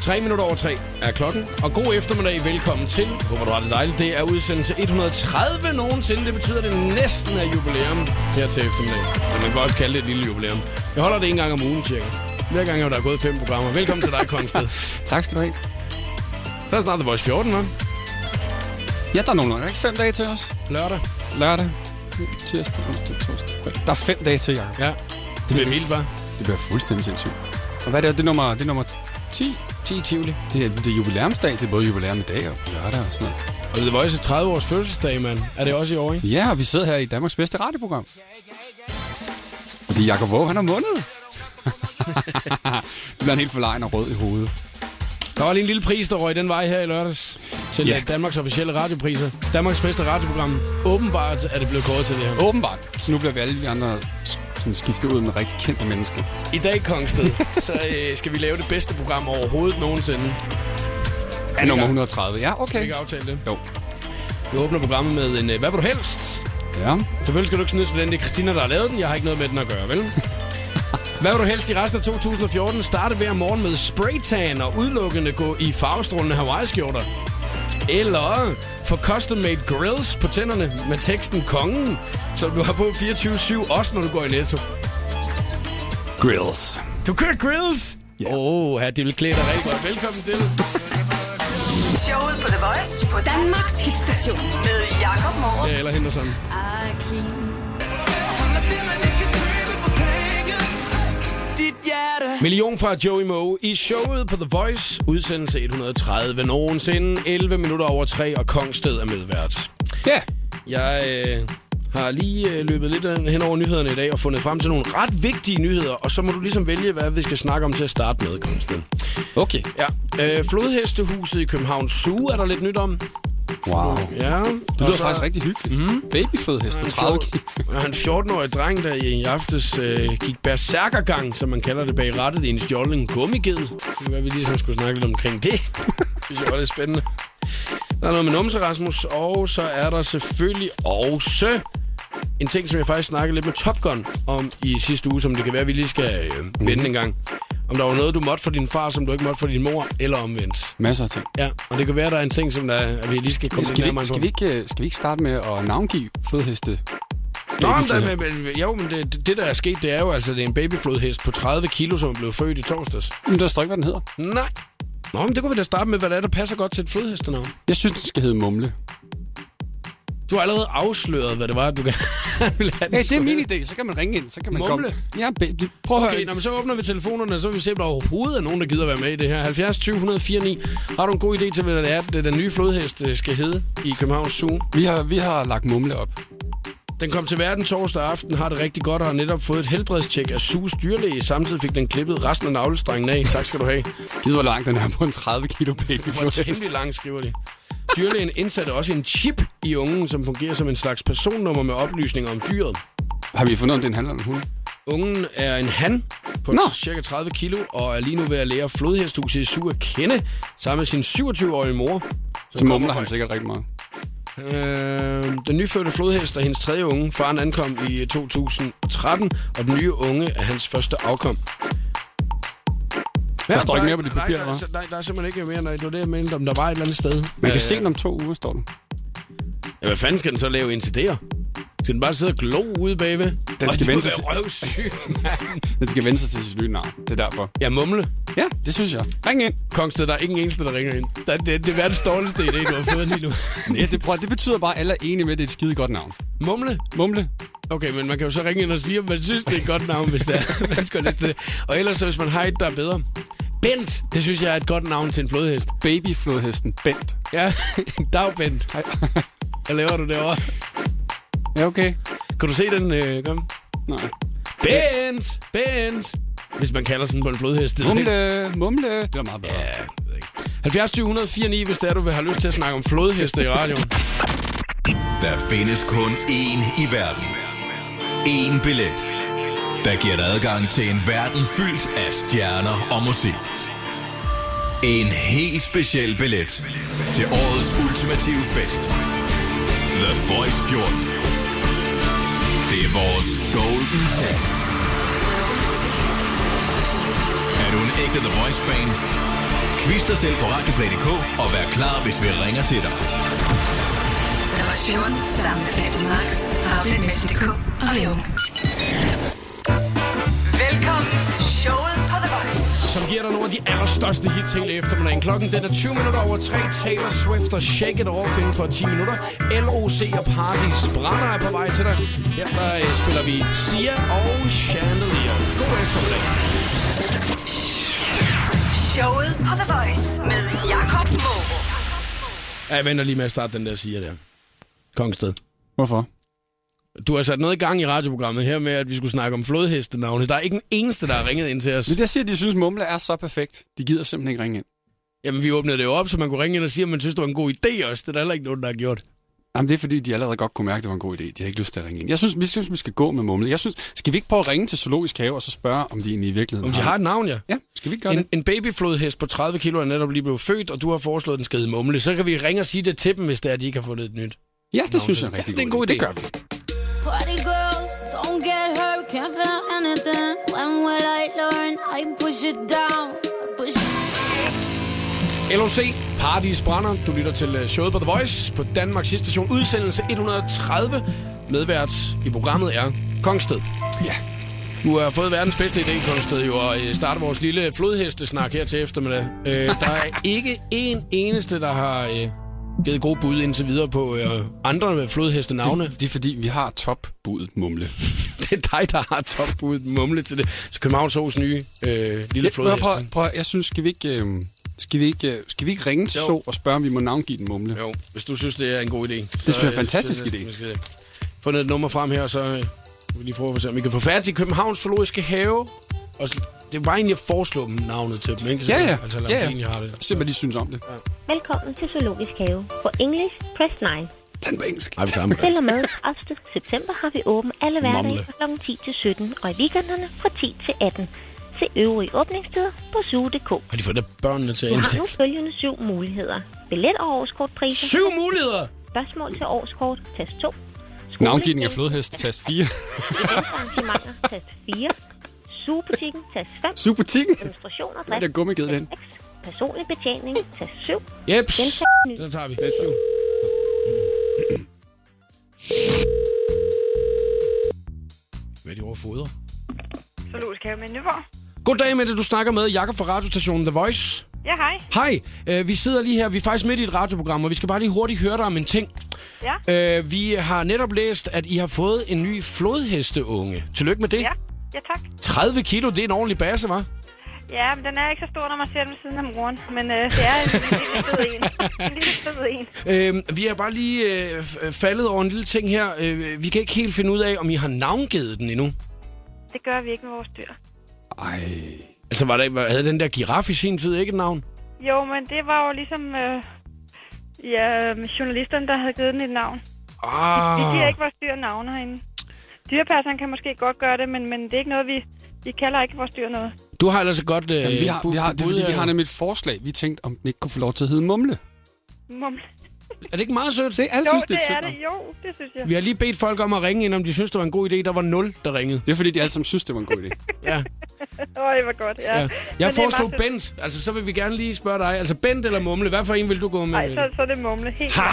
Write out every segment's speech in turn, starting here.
3 minutter over 3 er klokken, og god eftermiddag. Velkommen til. Håber du har det dejligt. Det er udsendelse 130 nogensinde. Det betyder, at det næsten er jubilæum her til eftermiddag. Men man kan godt kalde det et lille jubilæum. Jeg holder det en gang om ugen, cirka. Hver gang, der er gået fem programmer. Velkommen til dig, Kongsted. Tak skal du have. Så er det snart The Voice 14, hva'? Ja, der er nogenlunde ikke fem dage til os. Lørdag. Lørdag, tirsdag, onsdag, torsdag. fredag. Der er fem dage til, Jacob. Ja. Det bliver vildt, hva'? Det bliver fuldstændig sindssygt. Og hvad er det? Det er nummer, det er nummer 10. 10 i Tivoli. Det er, det er jubilæumsdag. Det er både jubilæum i dag og lørdag og sådan noget. Og The Voice er 30 års fødselsdag, mand. Er det også i år, ikke? Ja, og vi sidder her i Danmarks bedste radioprogram. Fordi Jacob Våg, han har vundet. det er en helt forlegen og rød i hovedet. Der var lige en lille pris, der røg den vej her i lørdags til Ja. ja. Danmarks officielle radiopriser. Danmarks bedste radioprogram. Åbenbart er det blevet kåret til det her. Åbenbart. Så nu bliver vi alle vi andre sådan skiftet ud med rigtig kendte mennesker. I dag, Kongsted, så øh, skal vi lave det bedste program overhovedet nogensinde. Skal Er nummer 130. Ja, okay. vi ikke aftale det? Jo. Vi åbner programmet med en øh, Hvad vil du helst? Ja. Selvfølgelig skal du ikke snydes for den. Det er Christina, der har lavet den. Jeg har ikke noget med den at gøre, vel? Hvad vil du helst i resten af 2014? Starte hver morgen med spraytan og udelukkende gå i farvestrålende Hawaii-skjorter. Eller få custom-made grills på tænderne med teksten Kongen, som du har på 24-7, også når du går i Netto. Grills. Du kører grills? Åh, Ja. yeah. oh, ja, det vil klæde dig rigtig godt. Velkommen til. Showet på The Voice på Danmarks hitstation med Jakob Morup. Ja, eller Henderson. Million fra Joey Moe i showet på The Voice, udsendelse 130 nogensinde, 11 minutter over 3, og Kongsted er medvært. Ja. Jeg øh, har lige øh, løbet lidt hen over nyhederne i dag og fundet frem til nogle ret vigtige nyheder, og så må du ligesom vælge, hvad vi skal snakke om til at starte med, Kongsted. Okay. Ja, øh, Flodhestehuset i København Zoo er der lidt nyt om. Wow. Ja, Det lyder faktisk rigtig hyggeligt. Mm. Babyflodhest på 30 kilo. Jeg har en 14-årig dreng, der i aftes øh, gik berserkergang, som man kalder det bag rattet, i en stjålen gummiged. Det var, hvad vi ligesom skulle snakke lidt omkring det. synes jeg var lidt spændende. Der er noget med numse, Rasmus, og så er der selvfølgelig også en ting, som jeg faktisk snakkede lidt med Top Gun om i sidste uge, som det kan være, vi lige skal Mhm. øh, vende en gang. Om der var noget, du måtte for din far, som du ikke måtte for din mor, eller omvendt. Masser af ting. Ja, og det kan være, der er en ting, som der, at vi lige skal komme Skal lidt vi, nærmere ikke, ind på. skal, vi ikke, øh, skal vi ikke starte med at navngive flodheste? Nå, men, der, Babyflodhest. men, men, jo, men det, det- det, der er sket, det er jo altså, det er en babyflodhest på 30 kilo, som blev født i torsdags. Men Mm, der står ikke, hvad den hedder. Nej. Nå, men det kunne vi da starte med, hvad der er, der passer godt til et flodhestenavn. Jeg synes, den skal hedde Mumle. Du har allerede afsløret, hvad det var, du gerne ville have den Ja, det er skulle min hedde. idé. Så kan man ringe ind. Så kan man Mumle? Komme. Ja, baby. prøv at Okay, høre. nå, men så åbner vi telefonerne, og så vil vi se, om der overhovedet er nogen, der gider være med i det her. 70 20 149. Har du en god idé til, hvad det er, det den nye flodhest øh, skal hedde i Københavns Zoo? Vi har, vi har lagt Mumle op. Den kom til verden torsdag aften, har det rigtig godt og har netop fået et helbredstjek af Sues dyrlæge. Samtidig fik den klippet resten af navlestrengen af. Tak skal du have. Givet hvor langt den er på en 30 kilo Hvor babyflodhest. temmelig lang skriver de. Dyrlægen indsatte også en chip i ungen, som fungerer som en slags personnummer med oplysninger om dyret. Har vi fundet, om den handler om en hund? Ungen er en han på Nå. cirka 30 kilo, og er lige nu ved at lære flodhesthuset i Sur at kende, sammen med sin 27-årige mor. Så mumler kommer han sikkert rigtig meget. Øh, den nyfødte flodhest er hendes tredje unge. Faren ankom i 2013, og den nye unge er hans første afkom. Ja, står ikke nej, mere på dit nej, papir, der, eller hvad? der, der, der er simpelthen ikke mere, nej, det var det, jeg mente, om der var et eller andet sted. Man kan Øh, se den om to uger, står den. Ja, hvad fanden skal den så lave indtil der? Skal den bare sidde og glo ude bagved? Den skal vente til... til- røvsyg, mand. Den skal vende sig til sit nye navn. Det er derfor. Ja, mumle. Ja, det synes jeg. Ring ind. Kongsted, der er ingen eneste, der ringer ind. Der, det, det er verdens dårligste idé, du har fået lige nu. Ja, det, prøv, det betyder bare, at alle er enige med, at det er et skide godt navn. Mumle? Mumle. Okay, men man kan jo så ringe ind og sige, om man synes, det er et godt navn, hvis det er. Man skal læse det. Og ellers, så hvis man har et, der er bedre. Bent, det synes jeg er et godt navn til en flodhest. Babyflodhesten Bent. Ja, dag Bent. Ej. Hvad laver du derovre? Ja, okay. Kan du se den? Øh, kom. Nej. Bent! Bent! Hvis man kalder sådan på en flodhest. det er Mumle, mumle. Det var meget bedre. Ja, jeg ved ikke. 70 20 104 9, hvis det er, du vil have lyst til at snakke om flodheste i radioen. Der findes kun én i verden. Én billet. Der giver dig adgang til en verden fyldt af stjerner og musik. En helt speciel billet til årets ultimative fest. The Voice 14. Det er vores golden tag. Er du en ægte The Voice-fan? Quiz dig selv på radioplay.dk og vær klar, hvis vi ringer til dig. Relation sammen med Bixi Max, Outlet.dk og Leung. Velkommen til showet på The Voice. som giver dig nogle af de allerstørste hits hele eftermiddagen. Klokken den er 20 minutter over 3. Taylor Swift og Shake It Off inden for 10 minutter. LOC og Paradis Brænder er på vej til dig. Her der øh, spiller vi Sia og Chandelier. God eftermiddag. Showet på The Voice med Jakob Morup. Ja, Jeg venter lige med at starte den der Sia der. Kongsted. Hvorfor? Du har sat noget i gang i radioprogrammet her med, at vi skulle snakke om flodhestenavne. Der er ikke en eneste, der har ringet ind til os. Men jeg siger, at de synes, Mumle er så perfekt. De gider simpelthen ikke ringe ind. Jamen, vi åbnede det jo op, så man kunne ringe ind og sige, at man synes, det var en god idé også. Det er der heller ikke nogen, der har gjort. Jamen, det er fordi, de allerede godt kunne mærke, at det var en god idé. De har ikke lyst til at ringe ind. Jeg synes, vi synes, vi skal gå med Mumle. Jeg synes, skal vi ikke prøve at ringe til Zoologisk Have og så spørge, om de egentlig i virkeligheden Om de har et navn, ja. Ja, skal vi ikke gøre en, det? en babyflodhest på 30 kilo er netop lige blevet født, og du har foreslået den skede mumle. Så kan vi ringe og sige det til dem, hvis det er, at de ikke har fundet et nyt. Ja, det synes jeg er Ja, en rigtig det er en god idé. Det gør vi. Party girls, don't get hurt, can't feel anything. When will I learn? I push it down, push LOC, Paradis Brænder. Du lytter til øh, showet på The Voice på Danmarks station. Udsendelse 130. Medvært i programmet er Kongsted. Ja. Du har fået verdens bedste idé, Kongsted, jo, og øh, starte vores lille flodhestesnak her til eftermiddag. Øh, der er ikke en eneste, der har øh, givet gode bud indtil videre på øh, andre med flodhestenavne. Det, det er fordi, vi har topbudet Mumle. det er dig, der har topbudet mumle til det. Så Københavns Hos nye øh, lille Jeg, prøv, flodhest. prøv, prøv, jeg synes, skal vi ikke... øhm, Skal vi, ikke, øh, skal vi ikke ringe til Jo. So og spørge, om vi må navngive den mumle? Jo, hvis du synes, det er en god idé. øh, Det synes jeg er en fantastisk idé. Få et nummer frem her, så øh, kan vi lige prøve at se, om vi kan få fat i Københavns Zoologiske Have. Og så, det er bare egentlig at foreslå dem navnet til dem, ikke? Så, Ja, ja. Altså, lad ja, dem ja. egentlig har det. Se, hvad de synes om det. Velkommen til Zoologisk Have. På English, press 9. Tag den på engelsk. Ej, vi tager med. Til og med 1. september har vi åben alle hverdage Mumle. fra kl. 10 til 17, og i weekenderne fra 10 til 18. Se øvrige åbningstider på zoo.dk. Har de fået der børnene til at Du har nu indse? følgende syv muligheder. Billet- og årskortpriser. Syv muligheder! Spørgsmål til årskort, tast 2. Navngivning af flodhest, tast 4. Arrangementer, tast 4. Sugebutikken, tast 5. Supertikken. Demonstrationer, er drift, gummiged, den. tast 6. Personlig betjening, tast 7. Jeps, Gentag den nyt. tager vi. Let's go. Hvad er de over foder? Zoologisk Have med Nyborg. Goddag, Mette. Du snakker med Jakob fra radiostationen The Voice. Ja, hej. Hej, øh, vi sidder lige her. Vi er faktisk midt i et radioprogram, og vi skal bare lige hurtigt høre dig om en ting. Ja. Øh, vi har netop læst, at I har fået en ny flodhesteunge. Tillykke med det. Ja, ja tak. 30 kilo, det er en ordentlig base, var? Ja, men den er ikke så stor, når man ser den ved siden af moren. Men øh, det er en lille sød en. En lille sød en. Øh, vi er bare lige øh, f- øh, faldet over en lille ting her. Øh, vi kan ikke helt finde ud af, om I har navngivet den endnu. Det gør vi ikke med vores dyr. Ej. Altså, var der, var- havde den der giraf i sin tid ikke et navn? Jo, men det var jo ligesom... Øh, ja, journalisterne, der havde givet den et navn. Vi giver Ah, ikke vores dyr navne herinde. Dyrepasseren kan måske godt gøre det, men, men det er ikke noget, vi... Vi kalder ikke vores dyr noget. du har ellers et godt... Øh, Jamen, vi har, vi har, det er bud fordi, vi her. har nemlig et forslag. Vi tænkte, om den ikke kunne få lov til at hedde Mumle. Mumle. Er det ikke meget sødt? Det, alle Jo, synes, det et er sødt det. Jo, det synes jeg. Vi har lige bedt folk om at ringe ind, om de synes, det var en god idé. Der var nul, der ringede. Det er fordi, de alle sammen synes, det var en god idé. Ja. Åh, det var godt, ja. Ja. Men det er Jeg meget foreslog sødt. Bent. Altså, så vil vi gerne lige spørge dig. Altså, Bent eller Mumle, hvad for en vil du gå med? Nej, så, så er det mumle. Helt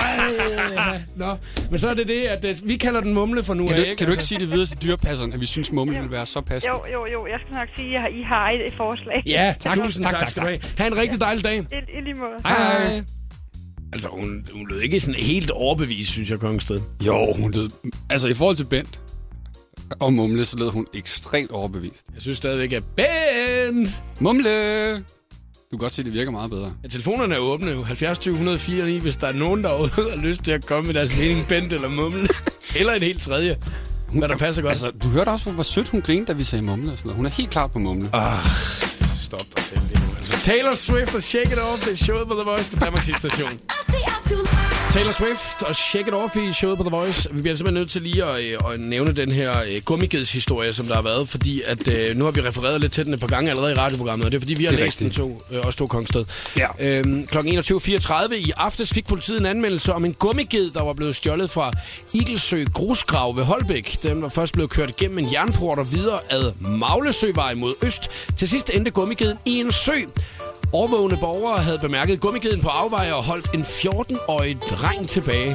Ej, Nå, men så er det det, at øh, vi kalder den Mumle for nu Kan af, du, kan du ikke sige det videre til dyrepasseren, at vi synes, Mumle ville være så passende? Jo, jo, jo. Jeg skal nok sige, at I har et, et forslag. Ja, tak. Tusind tak, tak, tak, skal du have. Ha' en rigtig dejlig dag. I, I lige måde. Hej, hej. Altså, hun, hun lød ikke sådan helt overbevist, synes jeg, Kongsted. Jo, hun lød... Altså, i forhold til Bent og Mumle, så lød hun ekstremt overbevist. Jeg synes stadigvæk, at Bent... Mumle! Du kan godt se, det virker meget bedre. Ja, telefonerne er åbne jo. 70 20 104 9, hvis der er nogen derude, der har lyst til at komme med deres mening, Bent eller Mumle. Eller en helt tredje. Hvad der passer godt. Altså, du hørte også, hvor- hvor sødt hun grinede, da vi sagde Mumle og sådan noget. Hun er helt klar på Mumle. ah. Stop dig selv lige nu. Altså, Taylor Swift og Shake It Off, det er showet på The Voice på Danmarks station. Taylor Swift og Shake It Off i showet på The Voice. Vi bliver simpelthen nødt til lige at, øh, at nævne den her øh, gummigedshistorie, som der har været, fordi at, øh, nu har vi refereret lidt til den et par gange allerede i radioprogrammet, og det er fordi, vi har Det er læst rigtigt. den to, øh, også to Kongsted. Ja. Øhm, kl. 21.34 i aftes fik politiet en anmeldelse om en gummiged, der var blevet stjålet fra Igelsø Grusgrav ved Holbæk. Den var først blevet kørt igennem en jernport og videre ad Maglesøvej mod øst. Til sidst endte gummigeden i en sø. Overvågende borgere havde bemærket gummikeden på afveje og holdt en 14-årig dreng tilbage.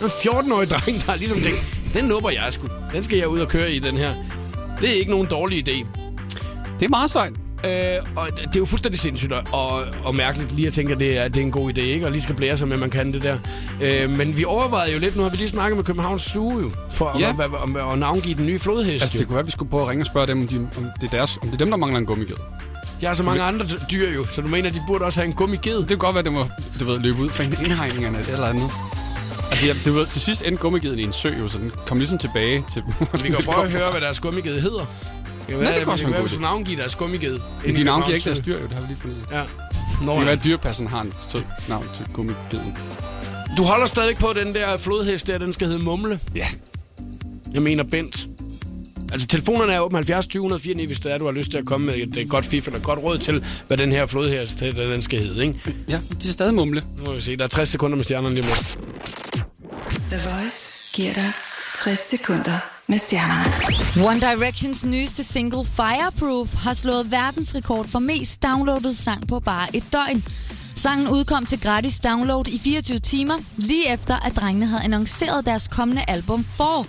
En 14-årig dreng, der har ligesom tænkt, den nupper jeg sgu. Den skal jeg ud og køre i, den her. Det er ikke nogen dårlig idé. Det er meget sejt. Altså, Øh, og det er jo fuldstændig sindssygt og- og, og mærkeligt lige at tænke, at det er, at det er en god idé, ikke? Og lige skal blære sig med, at man kan det der. Øh, men vi overvejede jo lidt, nu har vi lige snakket med Københavns Zoo jo, for ja. Ja. at, at, at, at navngive den nye flodhest. Altså, Altså, det kunne være, at vi skulle prøve at ringe og spørge dem, om, de, om, det, er deres, om det er dem, der mangler en gummiged. Jeg har så mange andre dyr jo, så du mener, de burde også have en gummiged? Det kunne godt være, at det må du ved, løbe ud fra en af indhegningerne eller et eller andet. Altså, jeg, du ved, til sidst endte gummigeden i en sø, jo, så den kom ligesom tilbage til... Vi kan jo prøve at høre, hvad deres gummiged hedder. Det kan det kunne også være en være, god hvis du idé. navngiver deres gummiged. Men de navngiver ikke deres Københavns dyr, jo, det har vi lige fundet ud af. Zoo. Ja. Nå, Det kan ja. være, at dyrepassen har en sød navn til gummigeden. Du holder stadig på den der flodhest der, den skal hedde Mumle. Ja. Jeg mener Bent. Altså, telefonerne er åbne 70 20 104, hvis der er, du har lyst til at komme med et, et godt fif eller et godt råd til, hvad den her flodhest her, den skal hedde, ikke? Ja, de er stadig mumle. Nu må vi se, der er 60 sekunder med stjernerne lige om lidt. The Voice giver dig 60 sekunder med stjernerne. One Directions nyeste single Fireproof har slået verdensrekord for mest downloadet sang på bare et døgn. Sangen udkom til gratis download i 24 timer, lige efter at drengene havde annonceret deres kommende album for.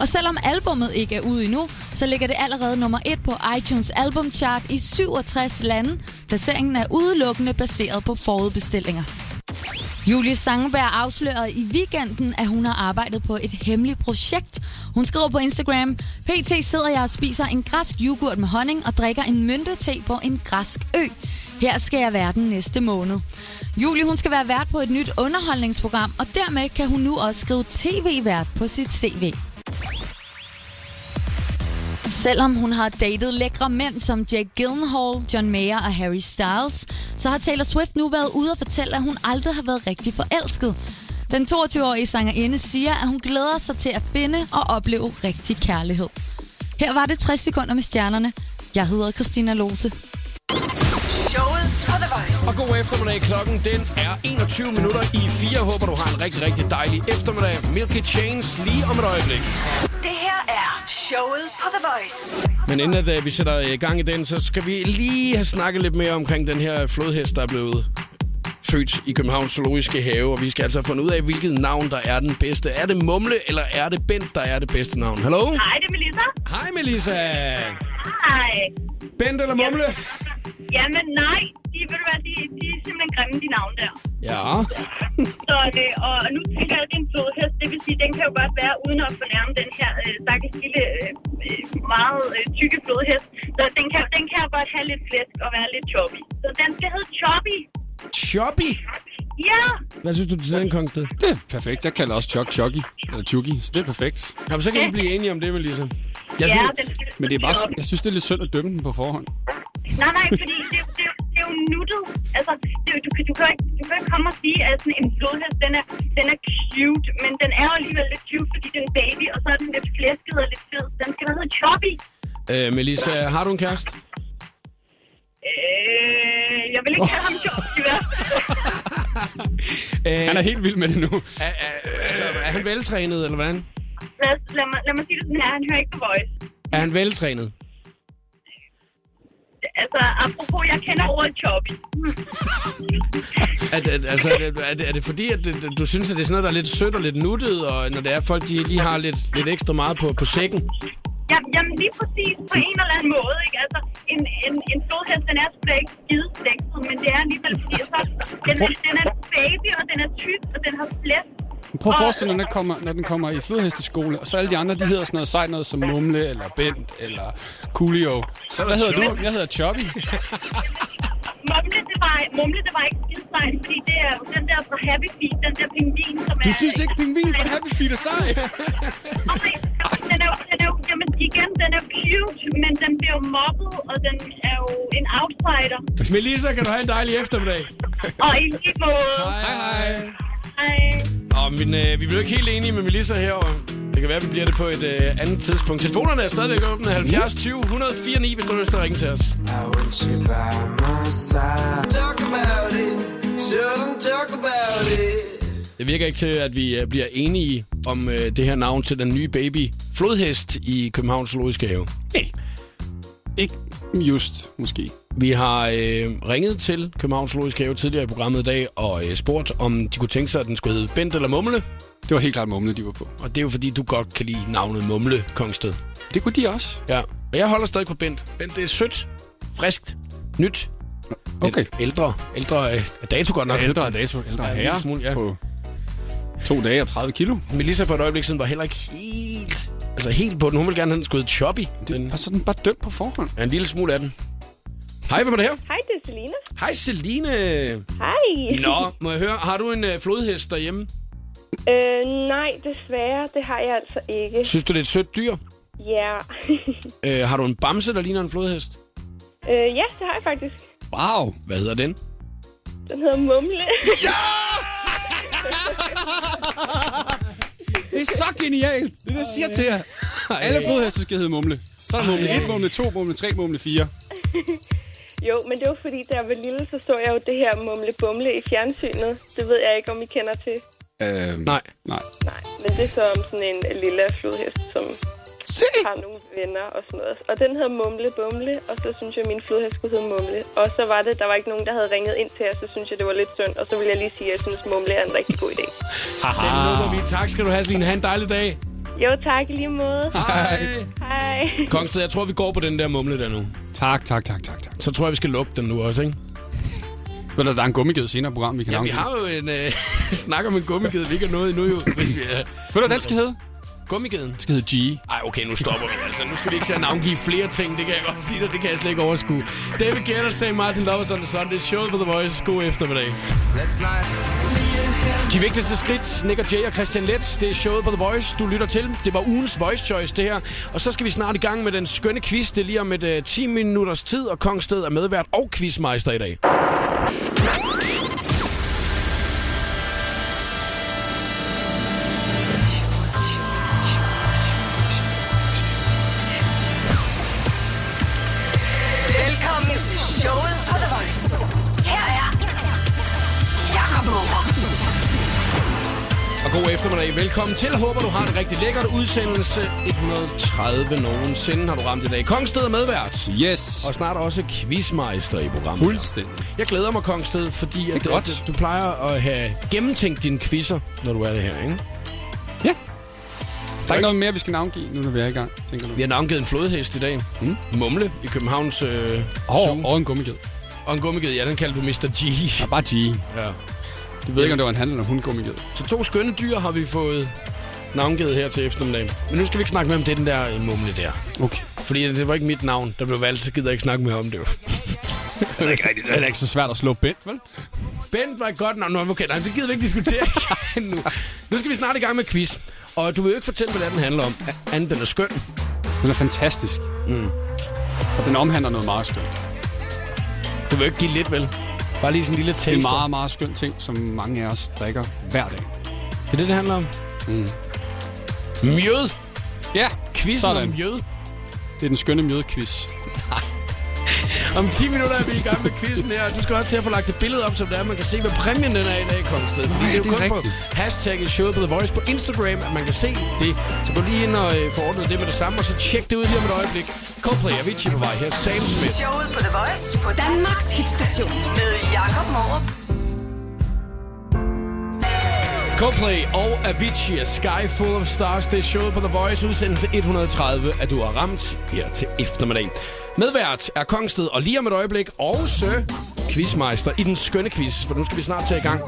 Og selvom albummet ikke er ude endnu, så ligger det allerede nummer 1 på iTunes albumchart i 67 lande. Placeringen er udelukkende baseret på forudbestillinger. Julie Sangeberg afslørede i weekenden, at hun har arbejdet på et hemmeligt projekt. Hun skriver på Instagram, PT sidder jeg og spiser en græsk yoghurt med honning og drikker en myntete på en græsk ø. Her skal jeg være den næste måned. Julie hun skal være vært på et nyt underholdningsprogram, og dermed kan hun nu også skrive tv-vært på sit CV. Selvom hun har datet lækre mænd som Jake Gyllenhaal, John Mayer og Harry Styles, så har Taylor Swift nu været ude og fortælle, at hun aldrig har været rigtig forelsket. Den 22-årige sangerinde siger, at hun glæder sig til at finde og opleve rigtig kærlighed. Her var det 60 sekunder med stjernerne. Jeg hedder Christina Lose. Showet på The Voice. Og god eftermiddag. Klokken den er 21 minutter i 4. Håber, du har en rigtig, rigtig dejlig eftermiddag. Milky Chains lige om et øjeblik. Det her er showet på The Voice. Men inden at, øh, vi sætter øh, gang i den, så skal vi lige have snakket lidt mere omkring den her flodhest, der er blevet født i Københavns Zoologiske Have. Og vi skal altså have fundet ud af, hvilket navn, der er den bedste. Er det Mumle, eller er det Bent, der er det bedste navn? Hallo? Hej, det er Melissa. Hej, Melissa. Hej. Bent eller Mumle? Jamen nej, de, ved du hvad, de, de er simpelthen grimme, de navne der. Ja. Så, øh, og nu tænker jeg, at det er en flodhest. Det vil sige, den kan jo godt være uden at fornærme den her øh, stakkels lille, øh, øh, meget øh, tykke flodhest. Så den kan, den kan jo godt have lidt flæsk og være lidt choppy. Så den skal hedde Choppy. Choppy. Ja, Hvad synes du til den kongsted? Det er perfekt. Jeg kalder også Chuck Chucky, eller Chucky, så det er perfekt. Jamen, så kan I blive enige om det, Melissa. Jeg ja, synes, den skal Men det er bare, Choppy. jeg synes, det er lidt synd at dømme den på forhånd. Nej, nej, fordi det, er jo- det, er jo- det er jo nuttet. Altså, det, er jo- du, kan- du, kan jo ikke, du kan jo ikke komme og sige, at sådan en flodhest, den er, den er cute, men den er jo alligevel lidt cute, fordi den er en baby, og så er den lidt flæsket og lidt fed. Den skal da hedde Choppy. øh, Melissa, har du en kæreste? Øh, jeg vil ikke kalde ham Choppy, i hvert fald. Øh, Han er helt vild med det nu. er, er, altså, er han veltrænet, eller hvordan? lad, os- lad, mig, lad mig sige det sådan her, han hører ikke The Voice. Er han veltrænet? Altså, apropos, jeg kender ordet Choppy. Er, er, altså, er, det, er, det, er det fordi, at det, du synes, at det er sådan noget, der er lidt sødt og lidt nuttet, og når det er, at folk de lige har lidt, lidt ekstra meget på, på sækken? Ja, jamen lige præcis på en eller anden måde, ikke? Altså, en, en, en flodhest, den er slet ikke skide sexet, men det er alligevel, fordi så, den, er- den er en baby, og den er tyk, og den har slet. Prøv at forestille dig, når den kommer, når den kommer i flodhesteskole, og så alle de andre, de hedder sådan noget sejt noget som Mumle, eller Bent, eller Coolio. Så hvad hedder du? Jeg hedder Choppy. Mumle, det var, mumle, det var ikke skide sejt, fordi det er jo den der fra Happy Feet, den der pingvin, som er... Du synes ikke, pingvin fra Happy Feet er sej? Nej, den er, jo- den er jo, jamen igen, den er cute, men den bliver jo mobbet, og den er jo en outsider. Melissa, kan du have en dejlig eftermiddag? Og i lige måde... Hej, hej. Hej. Og, men øh, vi blev ikke helt enige med Melissa her, og det kan være, at vi bliver det på et øh, andet tidspunkt. Telefonerne er stadigvæk åbne 70 20 104 9, hvis du har lyst til at ringe til os. Det virker ikke til, at vi øh, bliver enige om øh, det her navn til den nye baby flodhest i Københavns Zoologiske Have. Ikke just, måske. Vi har øh, ringet til Københavns Zoologisk Have tidligere i programmet i dag og øh, spurgt, om de kunne tænke sig, at den skulle hedde Bent eller Mumle. Det var helt klart mumle, de var på. Og det er jo fordi, du godt kan lide navnet Mumle Kongsted. Det kunne de også. Ja, og jeg holder stadig på Bent. Bent, det er sødt, friskt, nyt. Lidt Okay. Ældre. Ældre øh, er dato godt nok. Ja, ældre dato, ældre Ja, en herre. lille smule, ja. På to dage og 30 kilo. Melissa for et øjeblik siden var heller ikke helt... Altså helt på den. Hun ville gerne have den skulle hedde Choppy. Den Og så er den bare dømt på forhånd. er en lille smule af den. Hej, hvem er det her? Hej, det er Selina. Hej, Celine. Hej. Nå, må jeg høre, har du en øh, flodhest derhjemme? Øh, nej, desværre, det har jeg altså ikke. Synes du, det er et sødt dyr? Ja. Øh, har du en bamse, der ligner en flodhest? øh, ja, det har jeg faktisk. Wow. Hvad hedder den? Den hedder Mumle. Det er så genialt. Det er det, jeg siger til jer. Alle flodheste skal hedde mumle. Så er der mumle 1, mumle 2, mumle 3, mumle 4. jo, men det var fordi, da jeg var lille, så så jeg jo det her Mumle-Bumle i fjernsynet. Det ved jeg ikke, om I kender til. Øhm, Nej. nej. Nej, men det er så om sådan en lille flodhest, som Se! har nogle venner og sådan noget. Og den hedder Mumle Bumle, og så synes jeg, at min flodhest skulle hedde Mumle. Og så var det, der var ikke nogen, der havde ringet ind til jer, så synes jeg, det var lidt synd. Og så vil jeg lige sige, at jeg synes, Mumle er en rigtig god idé. Den lukker vi. Ah. Tak skal du have, Celine. Ha' en dejlig dag. Jo, tak i lige måde. Hej. Hej. Kongsted, jeg tror, vi går på den der mumle der nu. Tak, tak, tak, tak, tak. Så tror jeg, vi skal lukke den nu også, ikke? Ved du, der er en gummiged senere i programmet, vi kan Ja, vi navngive. har jo en øh, snak om en gummiged, vi ikke har nået endnu jo, hvis vi er... Ved du, hvad den skal hedde? Gummigeden? Den skal hedde G. Ej, okay, nu stopper vi altså. Nu skal vi ikke til at navngive flere ting, det kan jeg godt sige dig. Det kan jeg slet ikke overskue. David Guetta, St. Martin Lovers on the Sunday. Show på The Voice. God eftermiddag. De vigtigste skridt, Nick og Jay og Christian Letz, det er showet på The Voice, du lytter til. Det var ugens Voice Choice, det her. Og så skal vi snart i gang med den skønne quiz. Det er lige om et uh, 10 minutters tid, og Kongsted er medvært og quizmeister i dag. Velkommen til showet på The Voice. Her er Jakob Morup. Og god eftermiddag. Velkommen til. Håber, du har en rigtig lækkert udsendelse. 130 nogensinde har du ramt i dag. Kongsted er medvært. Yes. Og snart også quizmeister i programmet. Fuldstændig. Jeg glæder mig, Kongsted, fordi at, godt. at du plejer at have gennemtænkt dine quizzer, når du er det her, ikke? Ja. Der er ikke noget mere, vi skal navngive, nu når vi er i gang, tænker du. Vi har navngivet en flodhest i dag. Mm. Mumle i Københavns øh, Og, og en gummiged. Og en gummiged, ja, den kalder du Mr. G. Der er bare G. Ja. Du ved ikke, om det var en handel eller hundgummiged. Så to skønne dyr har vi fået navngivet her til eftermiddagen. Men nu skal vi ikke snakke mere om det, den der øh, mumle der. Okay. Fordi det var ikke mit navn, der blev valgt, så gider jeg ikke snakke mere om det. jo. Det er ikke så svært at slå bent, vel? Bent var et godt navn. Nå, okay, nej, det gider vi ikke diskutere nu. Nu skal vi snart i gang med quiz. Og du vil jo ikke fortælle, hvad den handler om. Anden, den er skøn. Den er fantastisk. Mm. Og den omhandler noget meget skønt. Du vil jo ikke give lidt, vel? Bare lige sådan en lille taster. Det er en meget, meget skøn ting, som mange af os drikker hver dag. Det er det, det handler om. Mm. Mjød. Ja, Quizzen Sådan. om mjød. det er den skønne mjødquiz. Om 10 minutter er vi i gang med quizzen her. Du skal også til at få lagt et billede op, som det er. Man kan se, hvad præmien den er i dag, Kongsted. Fordi det Nej, er jo det er kun rigtigt. på hashtagget showet på The Voice på Instagram, at man kan se det. Så gå lige ind og øh, få ordnet det med det samme, og så tjek det ud lige om et øjeblik. Coldplay, Avicii på vej her. Sam Smith. Showet på The Voice på Danmarks hitstation med Jakob Morup. Coldplay og Avicii er Sky Full of Stars. Det er showet på The Voice, udsendelse 130, at du har ramt her til eftermiddag. Medvært er Kongsted, og lige om et øjeblik også quizmeister i den skønne quiz, for nu skal vi snart til i gang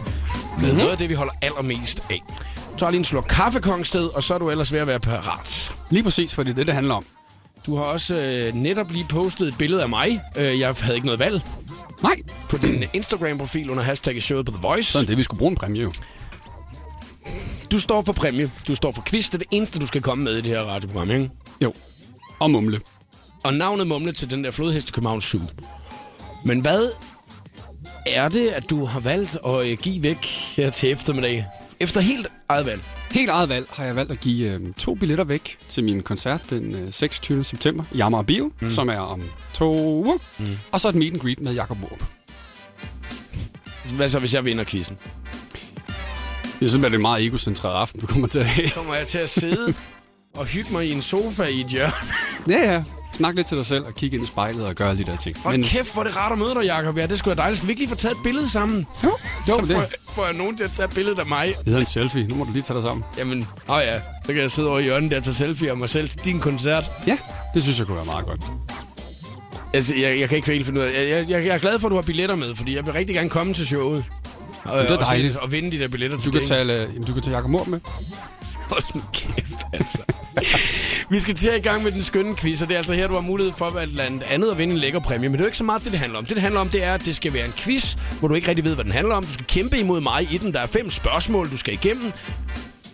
med Mhm. noget af det, vi holder allermest af. Så lige en slur kaffe, Kongsted, og så er du ellers ved at være parat. Lige præcis, for det er det, det handler om. Du har også øh, netop lige postet et billede af mig. Øh, jeg havde ikke noget valg Nej, på din Instagram-profil under hashtagget showet på The Voice. sådan det, vi skulle bruge en præmie jo. Du står for præmie, du står for quiz, det er det eneste, du skal komme med i det her radioprogram, ikke? Jo, og mumle. og navnet mumle til den der flodhest i Københavns Zoo. Men hvad er det, at du har valgt at øh, give væk her til eftermiddag? Efter helt eget valg. Helt eget valg har jeg valgt at give øh, to billetter væk til min koncert den øh, 26. september i Amager Bio, mm. som er om to uger. Mm. Og så et meet and greet med Jakob Morup. Hvad så, hvis jeg vinder quizzen? Jeg synes, at det er en meget egocentreret aften, du kommer til at have. Kommer jeg til at sidde og hygge mig i en sofa i et hjørne? Ja, ja. Snak lidt til dig selv og kig ind i spejlet og gør alle de der ting. Hold Men... kæft, hvor er det rart at møde dig, Jacob. Ja, det skulle være dejligt. Skal vi ikke lige få taget et billede sammen? jo, Så jo får det. jeg, får jeg nogen til at tage et billede af mig. Det hedder en selfie. Nu må du lige tage dig sammen. Jamen, åh oh ja, så kan jeg sidde over i hjørnet der og tage selfie af mig selv til din koncert. Ja, det synes jeg kunne være meget godt. Altså, jeg, jeg kan ikke helt finde ud af det. Jeg, jeg, jeg er glad for, at du har billetter med, fordi jeg vil rigtig gerne komme til showet. Og, det er og se dejligt. det, Og vinde de der billetter Du til kan gengæld. tage, øh, jamen, du kan tage Jacob Mor med. Hold nu kæft, altså. Vi skal til at i gang med den skønne quiz, og det er altså her, du har mulighed for at blandt andet at vinde en lækker præmie. Men det er jo ikke så meget det, det handler om. Det, det handler om, det er, at det skal være en quiz, hvor du ikke rigtig ved, hvad den handler om. Du skal kæmpe imod mig i den. Der er fem spørgsmål, du skal igennem.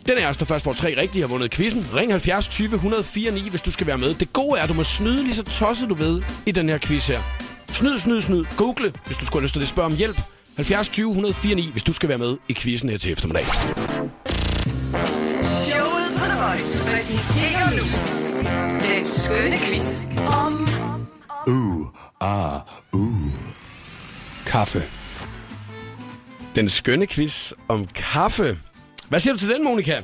Den er os, der først får tre rigtige, har vundet quizzen. Ring 70 20 104 9, hvis du skal være med. Det gode er, at du må snyde lige så tosset du ved i den her quiz her. Snyd, snyd, snyd. Google, hvis du skulle have lyst til det. Spørg om hjælp. 70 20 104 9, hvis du skal være med i quizzen her til eftermiddag. Showet på The Voice præsenterer nu den skønne quiz om Kaffe. Den skønne quiz om kaffe. Hvad siger du til den, Monika? Jeg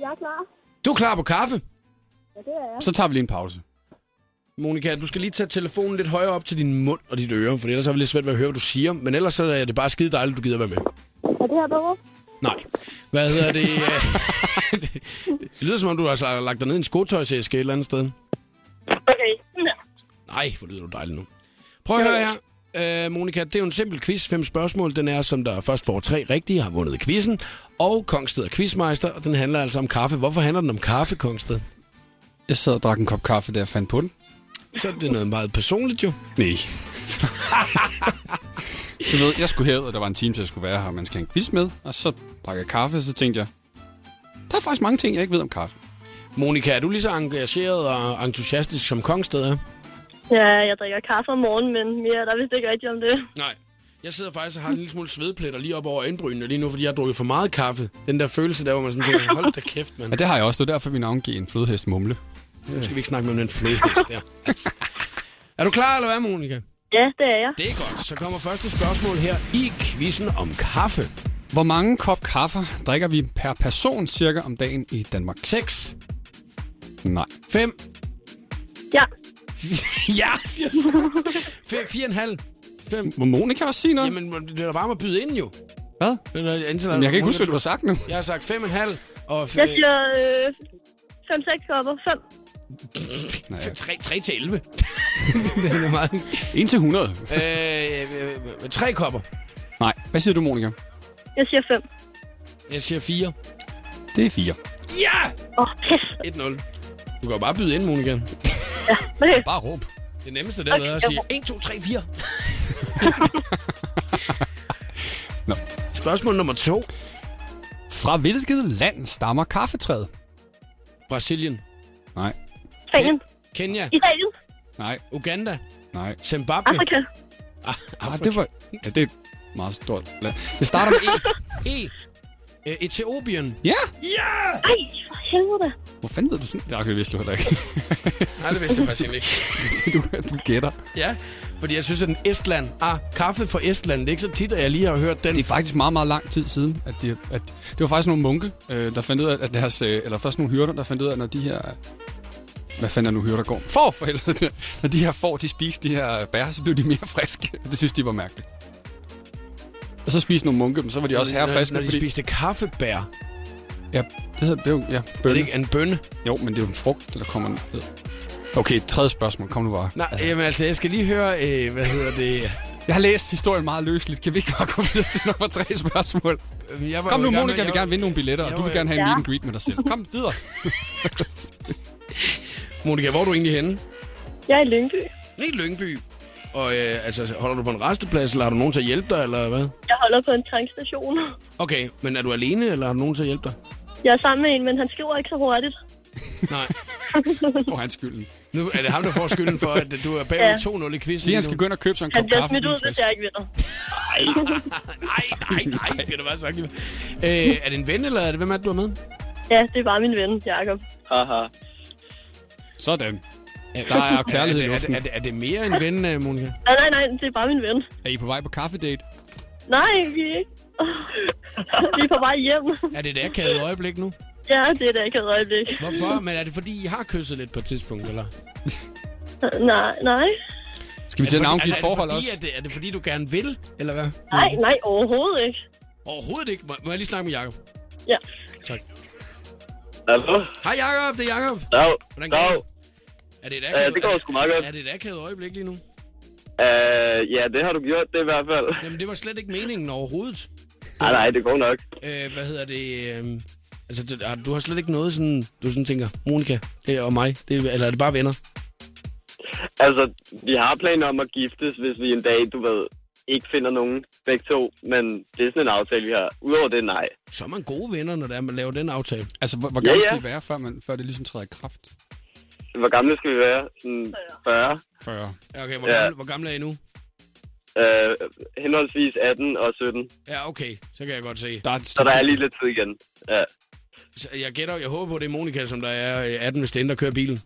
er klar. Du er klar på kaffe? Så tager vi lige en pause. Monika, du skal lige tage telefonen lidt højere op til din mund og dit øre, for ellers er det lidt svært ved at høre, hvad du siger. Men ellers så er det bare skide dejligt, at du gider være med. Er det her bedre? Nej. Hvad hedder det? det lyder som om, du har lagt dig ned i en skotøjsæske et eller andet sted. Okay. Nej, hvor lyder du dejlig nu. Prøv at høre her. Øh, Monika, det er jo en simpel quiz. Fem spørgsmål. Den er, som der først får tre rigtige, har vundet quizzen. Og Kongsted er quizmeister, og den handler altså om kaffe. Hvorfor handler den om kaffe, Kongsted? Jeg sad og drak en kop kaffe, der jeg fandt på den. Så er det noget meget personligt jo. Nej. du ved, jeg skulle herud, og der var en time, til jeg skulle være her, og man skal have en quiz med. Og så drak jeg kaffe, og så tænkte jeg, der er faktisk mange ting, jeg ikke ved om kaffe. Monika, er du lige så engageret og entusiastisk som Kongsted er? Ja, jeg drikker kaffe om morgenen, men mere er der vist ikke rigtigt om det. Nej. Jeg sidder faktisk og har en lille smule svedpletter lige op over øjenbrynene lige nu, fordi jeg har drukket for meget kaffe. Den der følelse der, hvor man sådan tænker, hold da kæft, mand. Ja, det har jeg også. Det er derfor, vi navngiver en flødehest mumle. Nu skal vi ikke snakke med den flødehest der. Altså. Er du klar, eller hvad, Monika? Ja, det er jeg. Det er godt. Så kommer første spørgsmål her i quizzen om kaffe. Hvor mange kop kaffe drikker vi per person cirka om dagen i Danmark? 6, Nej. 5, Ja. ja, siger du så. 4,5, 5. Må Monika også sige noget? Jamen, Jamen, altså, må- det er da bare med at byde ind, jo. Hvad? Det er da indtil- Jamen, jeg kan ikke huske, hvad du har sagt nu. Jeg har sagt 5,5 og Jeg siger øh, 5-6 kopper. 5. 3, 3 til 11. det er da meget. 1 til 100. Øh, øh, 3 kopper. Nej. Hvad siger du, Monika? Jeg siger 5. Jeg siger 4. Det er 4. Ja! Åh, oh, pis. 1-0. Du kan jo bare byde ind, Monika. Okay. Bare råb. Det nemmeste der okay. er at sige 1, 2, 3, 4. Nå. Spørgsmål nummer 2. Fra hvilket land stammer kaffetræet? Brasilien. Nej. Spanien. Kenya. Italien. Nej. Uganda. Nej. Zimbabwe. Afrika. Ah, Ah, Afrika. det var... Ja, det er et meget stort land. Det starter med E. E. Øh, Etiopien. Ja! Ej, for helvede. Hvor fanden ved du sådan? Det er det vidste du heller ikke. Nej, det vidste jeg faktisk ikke. du, du gætter. Ja, fordi jeg synes, at den Estland... Ah, kaffe fra Estland. Det er ikke så tit, at jeg lige har hørt den. Det er faktisk meget, meget lang tid siden, at, de, at det var faktisk nogle munke, øh, der fandt ud af, at deres, øh, eller først nogle hyrder, der fandt ud af, når de her, hvad fanden er nu hyrder går? For for helvede! Når de her får, de spiste de her bær, så blev de mere friske. Det synes de var mærkeligt. Og så spiste nogle munke dem, så var de også herfriske, Når, når de fordi... spiste kaffebær. Er Ja, det hedder, det er jo, ja, det bønne. ikke en bønne? Jo, men det er jo en frugt, der kommer ned. Okay, tredje spørgsmål. Kom nu bare. Nej, altså. jamen altså, jeg skal lige høre... Øh, hvad hedder det? Jeg har læst historien meget løsligt. Kan vi ikke bare komme videre til nummer tre spørgsmål? Øhm, Jeg var Kom jo nu, i gang Monika, med- jeg vil gerne vinde nogle billetter, Jeg og du var vil jo- gerne have en meet and greet med dig selv. Kom videre. Monika, hvor er du egentlig henne? Jeg er i Lyngby. Nede i Lyngby. Og øh, altså, holder du på en resteplads, eller har du nogen til at hjælpe dig, eller hvad? Jeg holder på en tankstation. Okay, men er du alene, eller har du nogen til at hjælpe dig? Jeg er sammen med en, men han skriver ikke så hurtigt. Nej. Hvor er hans skylden? Nu er det ham, der får skylden for, at du er Ja. bagud 2-0 i quizzen. Sige, han lige skal nu. gå ind og købe sig en Han kop bliver kaffe. smidt uden ud, hvis frisk. jeg ikke vinder. Nej, nej, nej, det er da bare sagt. Øh, er det en ven, eller er det, hvem er det, du er med? Ja, det er bare min ven, Jakob. Sådan. Der er kærlighed i er, det, luften. er, det, er det mere en ven, øh, Monika? Nej, nej, nej, det er bare min ven. Er I på vej på kaffedate? Nej, vi er ikke. vi er på vej hjem. Er det et akavet øjeblik nu? Ja, det er da ikke et øjeblik. Hvorfor? Men er det fordi, I har kysset lidt på et tidspunkt, eller? Nej, nej. Skal vi til at er, det- navngive er, det et forhold fordi, også? Er det, er det fordi, du gerne vil, eller hvad? Nej, nej, overhovedet ikke. Overhovedet ikke. Må, må jeg lige snakke med Jacob? Ja. Tak. Hallo? Hej Jacob, det er Jacob. Dag. Hvordan går Dag. det? Er det et Ja, akavet, det går er sgu meget godt. Er det et akavet øjeblik lige nu? Øh, ja, det har du gjort, det i hvert fald. Jamen, det var slet ikke meningen overhovedet. Nej, nej, det går nok. Øh, hvad hedder det? Øh, altså, det, har- du har slet ikke noget sådan, du sådan tænker, Monika det er, og mig, det, er- eller er det bare venner? Altså, vi har planer om at giftes, hvis vi en dag, du ved, ikke finder nogen begge to. Men det er sådan en aftale, vi har. Udover det, nej. Så er man gode venner, når det er, man laver den aftale. Altså, hvor, hvor Ja, gammel ja. skal I være, før, man, før det ligesom træder i kraft? Hvor gamle skal vi være? Sådan 40. 40. Ja, Okay, hvor, Ja. ja. Gamle, hvor gamle er I nu? Øh, henholdsvis 18 og 17. Ja, okay, så kan jeg godt se. Der er et Så stykke der er tid lige til. lidt tid igen. Ja, Så Jeg gætter, jeg håber på, det er Monika, som der er øh, 18, hvis det er hende, der kører bilen.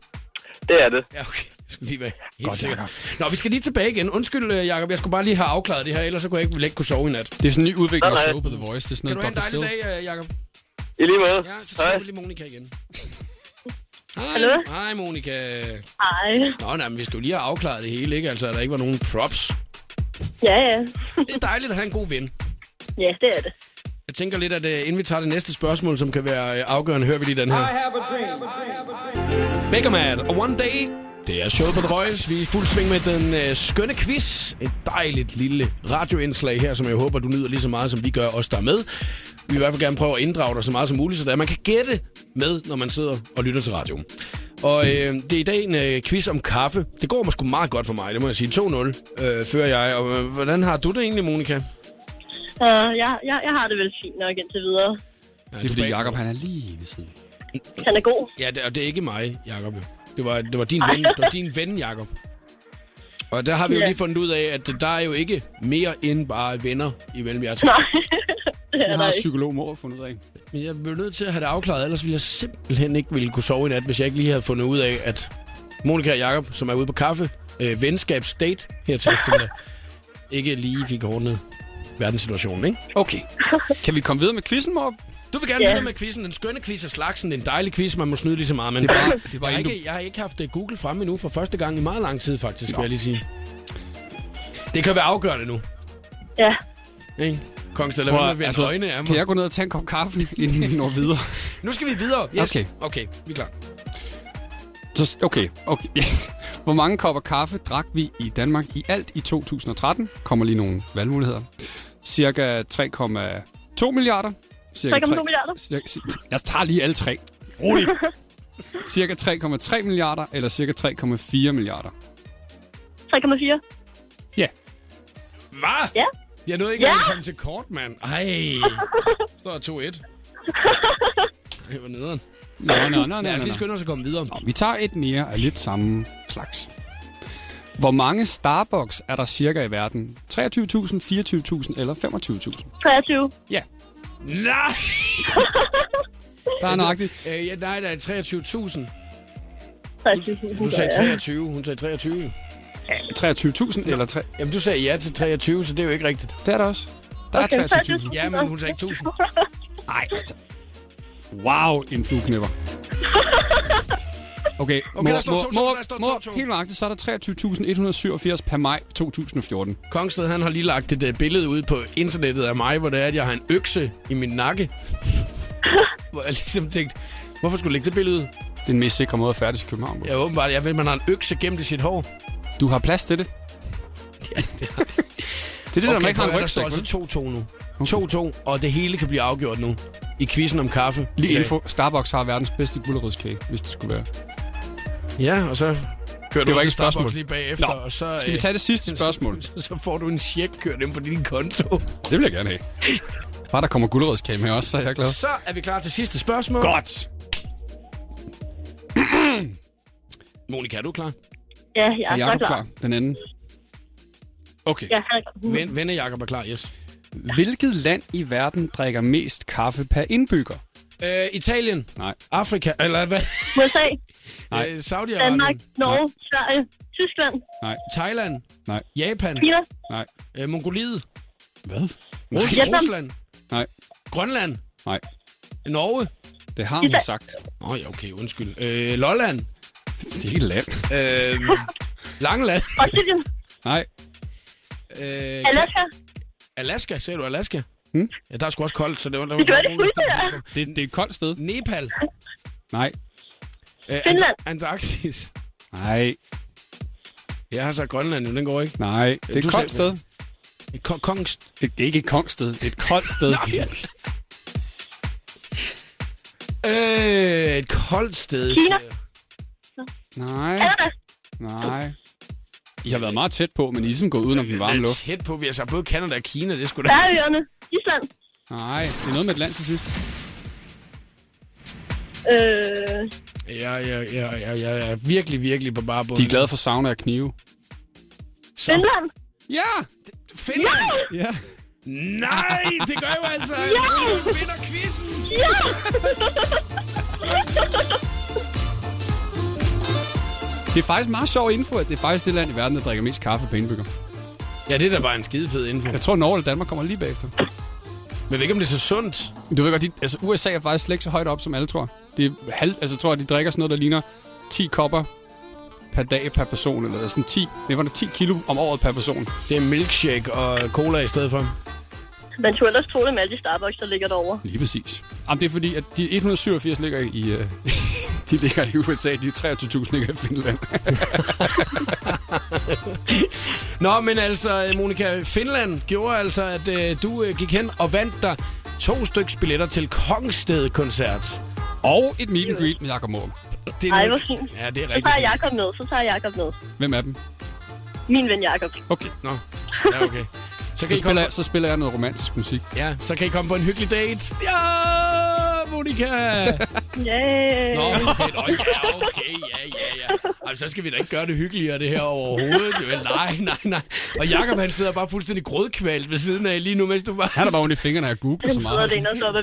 det er det. Ja, okay. Jeg skulle lige være helt Godt, sikker. Jacob. Nå, vi skal lige tilbage igen. Undskyld, øh, Jacob, jeg skulle bare lige have afklaret det her, ellers så kunne jeg ikke, ville ikke kunne sove i nat. Det er sådan en ny udvikling af Nej, nej. show på The Voice. Det er sådan Kan du have noget en dejlig Dr. Phil. dag, øh, Jacob? I lige måde. Ja, så Hej. skriver vi lige Monika igen. Hej, Hallo? Hej, Monika. Hej. Nå, nej, men vi skal jo lige have afklaret det hele, ikke? Altså, at der ikke var nogen props. Ja, ja. Det er dejligt at have en god ven. Ja, det er det. Jeg tænker lidt, at øh, inden vi tager det næste spørgsmål, som kan være øh, afgørende, hører vi lige den her. I have a dream. Beckerman og One Day. Det er showet på The Voice. Vi er i fuld sving med den øh, skønne quiz. Et dejligt lille radioindslag her, som jeg håber, du nyder lige så meget, som vi gør os der er med. Vi vil i hvert fald gerne prøve at inddrage dig så meget som muligt, så der, man kan gætte med, når man sidder og lytter til radioen. Og øh, det er i dag en øh, quiz om kaffe. Det går mig sgu meget godt for mig, det må jeg sige. 2-0 øh, fører jeg. Og øh, hvordan har du det egentlig, Monika? Uh, jeg, jeg, jeg har det vel fint nok indtil videre. Det er fordi, Jacob han er lige ved siden. Han er god. Ja, det, og det er ikke mig, Jacob. Det var, det var din ven, det var din ven Jacob. Og der har vi jo Ja. lige fundet ud af, at der er jo ikke mere end bare venner imellem jer to. Nej, det er Jeg der har ikke. psykolog Mårup fundet ud af. Men jeg blev nødt til at have det afklaret, ellers ville jeg simpelthen ikke ville kunne sove i nat, hvis jeg ikke lige havde fundet ud af, at Monika og Jacob, som er ude på kaffe, øh, venskabsdate her til eftermiddag, ikke lige fik ordnet verdenssituationen, ikke? Okay. Kan vi komme videre med quizzen, Mårup? Du vil gerne Ja. yeah. med quizzen, den skønne quiz af slagsen, en dejlig quiz, man må snyde lige så meget, men Det var, det var jeg, har ikke... ikke, jeg har ikke haft øh, Google fremme endnu for første gang i meget lang tid, faktisk, vil jeg lige sige. Det kan være afgørende nu, Ja, ikke? Kongs, eller Prøv hvad at- med altså, altså, øjne af Kan mig. jeg gå ned og tage en kop kaffe, inden vi når videre? Nu skal vi videre. Yes. Okay. okay, vi er klar. Så, okay, okay. Hvor mange kopper kaffe drak vi i Danmark i alt i 2013? Kommer lige nogle valgmuligheder. Cirka 3,2 milliarder. Cirka 3,2 tre- milliarder. Cirka, jeg tager lige alle tre. Rolig. cirka 3,3 milliarder, eller cirka 3,4 milliarder. 3,4. Hvad? Ja. Jeg nåede ikke engang at komme til kort, mand. Ej. Står der 2-1. Det var nederen. Nå, nå, nå, nå, nå, Lad os lige nå. skynde os at komme videre. Vi tager et mere af lidt samme slags. Hvor mange Starbucks er der cirka i verden? 23.000, 24.000 eller 25.000? 23. Ja, Nej! der er nøjagtigt. Øh, ja, nej, der er 23.000. 23. Du sagde 23, hun sagde 23. 23.000 eller 3... Jamen, du sagde ja til 23, så det er jo ikke rigtigt. Det er der også. Der Okay, er 23.000. Ja, men hun sagde ikke 1000. Nej. altså. Wow, en flueknipper. Okay, Okay, der står to, to, der står to, to. helt nøjagtigt, så er der 23.187 per maj 2014. Kongsted, han har lige lagt et uh, billede ud på internettet af mig, hvor det er, at jeg har en økse i min nakke. hvor jeg ligesom tænkte, hvorfor skulle du lægge det billede ud? Det er den mest sikre måde at færdes i København. Ja. Ja, åbenbart, jeg ved, man har en økse gemt i sit hår. Du har plads til det. det er det, der man ikke prøv at har en høre, der står rygsæk. vel? altså 2-2 nu. 2-2, og det hele kan blive afgjort nu. I quizzen om kaffe. Lige Ja. info, Starbucks har verdens bedste gulerodskage, hvis det skulle være. Ja, og så kører Det du ud var ikke til et spørgsmål. Starbucks lige bagefter, Nå, og så... Skal vi øh, tage det sidste spørgsmål? Så, så får du en check kørt ind på din konto. Det vil jeg gerne have. Bare der kommer gulerodskage med også, så er jeg glad. Så er vi klar til sidste spørgsmål. Godt. Monika, er du klar? Ja, jeg Er er så Jacob klar. klar? Den anden. Okay. Ja, han er klar. Ven, venne Jacob er klar, yes. Hvilket land i verden drikker mest kaffe per indbygger? Øh, Italien, Nej. Afrika, eller hvad? USA, Nej. Øh, Saudi-Arabien, Danmark, Norge, Sverige, Tyskland, Thailand, Nej. Japan, Kina, Nej. øh, Mongoliet, Hvad? Rus- Vietnam. Rusland, Nej. Grønland, Nej. Norge, Det har hun Især- sagt. Nå ja, okay, undskyld. Øh, Lolland. Det er ikke et land. Øh, Langeland. Og så det Nej. Øh, Alaska. Alaska, sagde du Alaska? Hmm? Ja, der er sgu også koldt, så det var... Det gør det fuldstændig. Det, det er et koldt sted. Nepal. Nej. Øh, Finland. Ant- Antarktis. Nej. Jeg har sagt Grønland nu, den går ikke. Nej. Det er Du et koldt sagde- sted. Ko- Kongs... Et, det er ikke et kongsted. Det er et koldt sted. Nå, ja. Øh, et koldt sted. Kina. siger- Nej. Canada. Nej. I har været meget tæt på, men I er sådan gået udenom den varme Det er luft. tæt på, vi har sagt både Kanada og Kina, det skulle da... Færøerne. Island. Nej, det er noget med et land til sidst. Øh, Ja, ja, ja, ja, ja, ja, virkelig, virkelig på bare De er glade for sauna og knive. Finland. Ja! Finland! Ja. Nej, det gør jo altså, at Rune vinder quizzen. Det er faktisk meget sjov info, at det er faktisk det land i verden, der drikker mest kaffe på indbygger. Ja, det er da bare en skide fed info. Jeg tror, Norge eller Danmark kommer lige bagefter. Men jeg ved ikke, om det er så sundt. Du ved godt, de, altså USA er faktisk slet ikke så højt op, som alle tror. Det er halv, altså jeg tror jeg, de drikker sådan noget, der ligner 10 kopper per dag per person, eller sådan 10, nej, var det 10 kilo om året per person. Det er milkshake og cola i stedet for. Man skulle ellers tro det med alle de Starbucks, der ligger derovre. Lige præcis. Jamen, det er fordi, at de 187 ligger i, øh, de ligger i USA, de 23.000 ligger i Finland. Nå, men altså, øh, Monika, Finland gjorde altså, at øh, du øh, gik hen og vandt dig to styks billetter til Kongsted-koncert. Og et meet and greet med Jakob Mål. Det Ej, nu- hvor fint. Ja, det er Så rigtig tager fint. Jakob med, så tager Jakob med. Hvem er dem? Min ven Jakob. Okay. Nå, ja, okay. Så kan, I Så komme, spiller, jeg, så spiller jeg noget romantisk musik. ja, så kan I komme på en hyggelig date. Ja, Monika! Yeah. Nå, okay, nå, ja, okay, ja, ja, ja. Altså, så skal vi da ikke gøre det hyggeligere, det her overhovedet. Det er vel, nej, nej, nej. Og Jakob, han sidder bare fuldstændig grødkvalt ved siden af lige nu, mens du bare... Han er bare ondt i fingrene af Google så Den sidder meget. det ene og op ad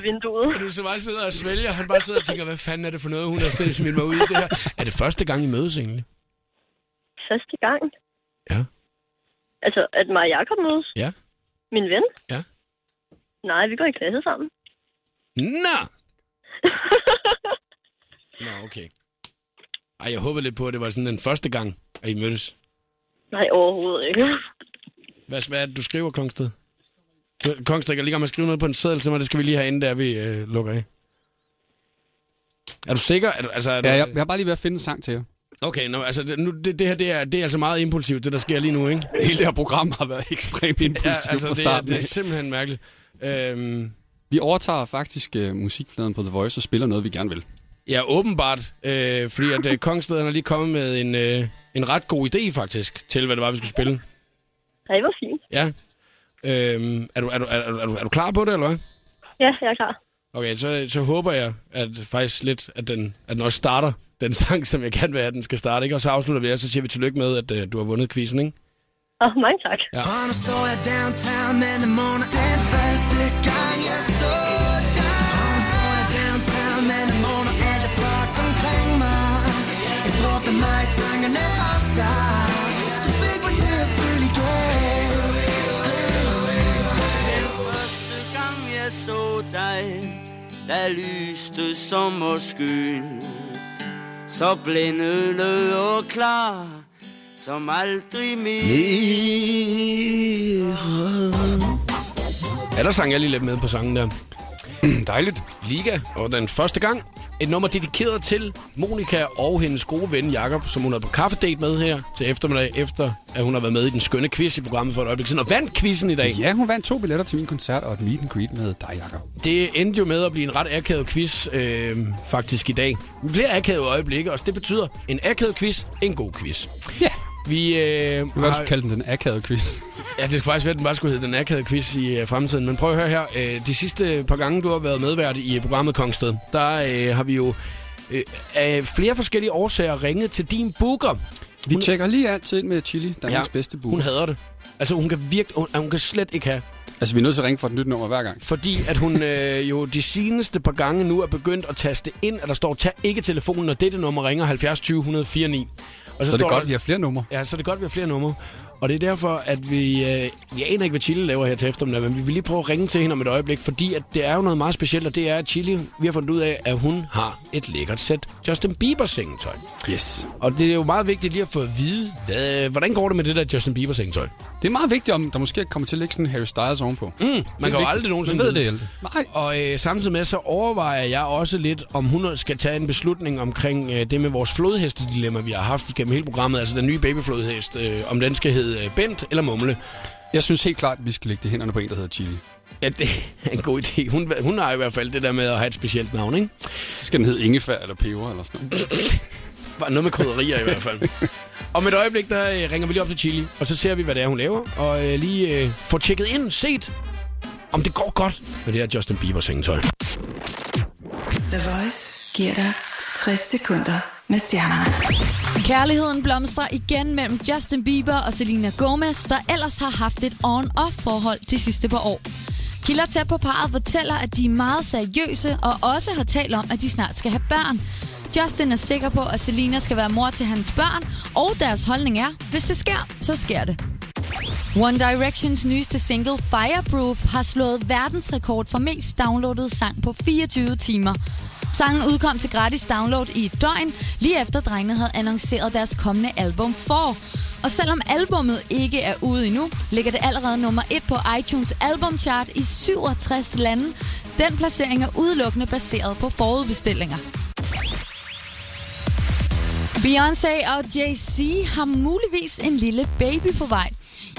vinduet. Du så bare sidder og svælger, og han bare sidder og tænker, hvad fanden er det for noget, hun har stillet smidt mig ud i det her? Er det første gang, I mødes egentlig? Første gang. Ja. Altså, at mig og Jakob mødes. Ja. Min ven. Ja. Nej, vi går i klasse sammen. Nå! Nå, okay. Ej, jeg håber lidt på, at det var sådan den første gang, at I mødtes. Nej, overhovedet ikke. Hvad, hvad er det, du skriver, Kongsted? Du, Kongsted, jeg er lige gang med at skrive noget på en seddel til mig. Det skal vi lige have, inden der vi øh, lukker af. Er du sikker? Er du, altså, er du, Ja, jeg, jeg har bare lige ved at finde en sang til jer. Okay, nå, altså, det- nu, det, det her det er, det er altså meget impulsivt, det der sker lige nu, ikke? Hele det her program har været ekstremt impulsivt ja, altså, fra det, er, starten. det er Det, simpelthen mærkeligt. Øhm, Vi overtager faktisk uh, musikfladen på The Voice og spiller noget, vi gerne vil. ja, åbenbart, øh, fordi at øh, Kongsted han er lige kommet med en, øh, en ret god idé, faktisk, til hvad det var, vi skulle spille. Nej, hvor fint. Ja. Øhm, er, du, er, du, er, du- er, du, er du klar på det, eller hvad? Ja, jeg er klar. Okay, så, så håber jeg at faktisk lidt, at den, at den også starter, den sang, som jeg kan være, at den skal starte, ikke? Og så afslutter vi, og så siger vi tillykke med, at øh, du har vundet quizzen, ikke? Åh, mange tak. Ja. Og nu står jeg downtown men i morgen er den første gang jeg så dig Og nu står jeg downtown men i morgen er det flot omkring mig Jeg drukner mig i tankerne om dig Du fik mig til at føle igen Den første gang jeg så dig Der lyste sommerskyen Så blændende og klar Som aldrig mere Ja, der sang jeg lige lidt med på sangen der. Dejligt. Liga, og den første gang. Et nummer dedikeret til Monika og hendes gode ven Jakob, som hun er på kaffedate med her til eftermiddag, efter at hun har været med i den skønne quiz i programmet for et øjeblik siden, og vandt quizzen i dag. Ja, hun vandt to billetter til min koncert og et meet and greet med dig, Jacob. Det endte jo med at blive en ret akavet quiz, øh, faktisk i dag. Flere akavede øjeblikke også. Det betyder en akavet quiz, en god quiz. Ja. Vi, øh, Du kan også kalde den den akavede quiz. Ja, det er faktisk være, at den bare skulle hedde den akavede quiz i øh, fremtiden. Men prøv at høre her. Øh, de sidste par gange, du har været medvært i øh, programmet Kongsted, der øh, har vi jo øh, af flere forskellige årsager ringet til din booker. Vi tjekker lige altid ind med Chili, Danmarks ja, bedste bud. Hun hader det. Altså, hun kan, virke, hun, hun kan slet ikke have Altså, vi er nødt til at ringe for et nyt nummer hver gang. fordi at hun øh, jo de seneste par gange nu er begyndt at taste ind, at der står, tag ikke telefonen, når dette nummer ringer 70 20 149. Og Så er det står godt, der- vi har flere numre. Ja, så er det godt, vi har flere numre. Og det er derfor, at vi... Øh, vi aner ikke, hvad Chile laver her til eftermiddag, men vi vil lige prøve at ringe til hende om et øjeblik, fordi at det er jo noget meget specielt, og det er, at Chile, vi har fundet ud af, at hun har et lækkert sæt Justin Bieber-sengetøj. Yes. Og det er jo meget vigtigt lige at få at vide, hvad, hvordan går det med det der Justin Bieber-sengetøj? Det er meget vigtigt, om der måske kommer til at lægge sådan en Harry Styles ovenpå. Mm, man kan jo aldrig nogensinde ved det, vide. Hjelte. Nej. Og øh, samtidig med, så overvejer jeg også lidt, om hun skal tage en beslutning omkring øh, det med vores flodhestedilemma, vi har haft igennem hele programmet. Altså den nye babyflodhest, øh, om den skal hedde øh, Bent eller Mumle. Jeg synes helt klart, at vi skal lægge det i hænderne på en, der hedder Chili. Ja, det er en god idé. Hun, hun har i hvert fald det der med at have et specielt navn, ikke? Så skal den hedde Ingefær eller Peber eller sådan noget. Bare noget med krydderier i hvert fald. Om et øjeblik, der øh, ringer vi lige op til Chili, og så ser vi, hvad det er, hun laver. Og øh, lige øh, får tjekket ind, set, om det går godt med det her Justin Bieber-sengetøj. The Voice giver dig 60 sekunder med stjernerne. Kærligheden blomstrer igen mellem Justin Bieber og Selena Gomez, der ellers har haft et on-off-forhold de sidste par år. Kilder tæt på parret fortæller, at de er meget seriøse og også har talt om, at de snart skal have børn. Justin er sikker på, at Selena skal være mor til hans børn, og deres holdning er, hvis det sker, så sker det. One Directions nyeste single Fireproof har slået verdensrekord for mest downloadet sang på 24 timer. Sangen udkom til gratis download i et døgn, lige efter drengene havde annonceret deres kommende album for. Og selvom albummet ikke er ude endnu, ligger det allerede nummer 1 på iTunes albumchart i 67 lande. Den placering er udelukkende baseret på forudbestillinger. Beyoncé og Jay-Z har muligvis en lille baby på vej.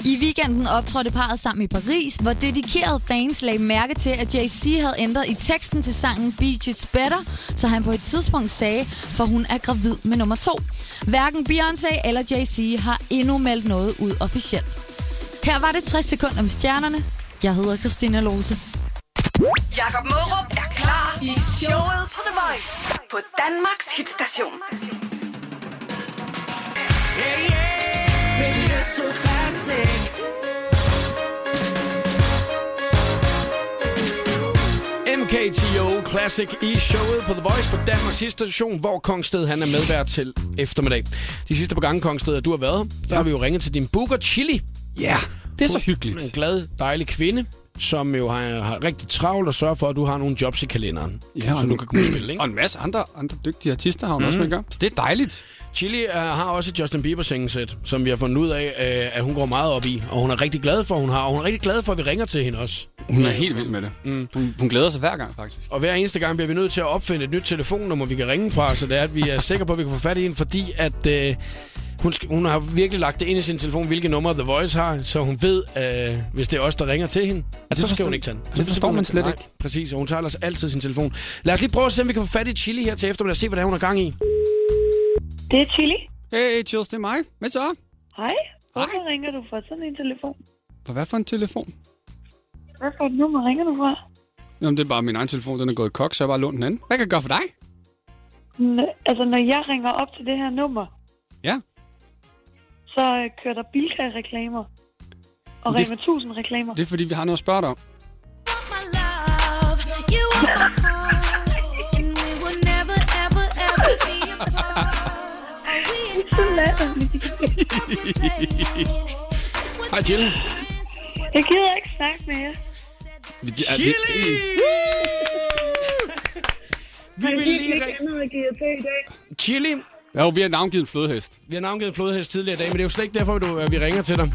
I weekenden optrådte parret sammen i Paris, hvor dedikerede fans lagde mærke til, at Jay-Z havde ændret i teksten til sangen Beach It's Better, så han på et tidspunkt sagde, for hun er gravid med nummer to. Hverken Beyoncé eller Jay-Z har endnu meldt noget ud officielt. Her var det 60 sekunder om stjernerne. Jeg hedder Christina Lose. Jakob Mørup er klar i showet på The Voice på Danmarks hitstation. Baby, you're so classic. MKTO Classic i showet på The Voice på Danmarks sidste station, hvor Kongsted han er medvært til eftermiddag. De sidste par gange, Kongsted, at du har været, der har vi jo ringet til din booker Chili. Ja, det er så Hun er En hyggeligt. glad, dejlig kvinde, som jo har, har rigtig travlt og sørger for, at du har nogle jobs i kalenderen. Ja, og så du nu- kan kunne spille, ikke? Og en masse andre, andre dygtige artister har hun mm. også Mhm. med i gang. Så det er dejligt. Chili uh, har også et Justin Bieber sengesæt, som vi har fundet ud af, uh, at hun går meget op i. Og hun er rigtig glad for, at hun har. Og hun er rigtig glad for, at vi ringer til hende også. Hun er helt vild med det. Mm. Hun, hun glæder sig hver gang, faktisk. Og hver eneste gang bliver vi nødt til at opfinde et nyt telefonnummer, vi kan ringe fra, så det er, at vi er sikre på, at vi kan få fat i hende, fordi at øh, hun, skal, hun har virkelig lagt det ind i sin telefon, hvilke numre The Voice har, så hun ved, øh, hvis det er os, der ringer til hende, at så, så skal hun ikke tage den. så Det forstår vil man hun- slet nej, ikke. Præcis, og hun tager ellers altid sin telefon. Lad os lige prøve at se, om vi kan få fat i Chili her til eftermiddag og se, hvad det er, hun har gang i. Det er Chili. Hey, Chills, det er mig. Hvad så? Hej. Hvorfor ringer du fra sådan en telefon? For hvad for en telefon? Hvad for et nummer ringer du fra? Jamen, det er bare min egen telefon, den er gået i kok, så jeg har bare lånt den anden. Hvad kan jeg gøre for dig? N- altså, når jeg ringer op til det her nummer, Ja. så øh, kører der Bilka-reklamer. Og Det- Rema 1000-reklamer. Det er, fordi vi har noget at spørge dig om. Hej, Chili. Jeg gider ikke snakke med jer. Chili! Mm. Vi vil lige ringe. andet at give til i dag. Chili, Ja, vi har navngivet en flødehest. vi har navngivet en flodhest tidligere i dag, men det er jo slet ikke derfor, du, at vi ringer til dig.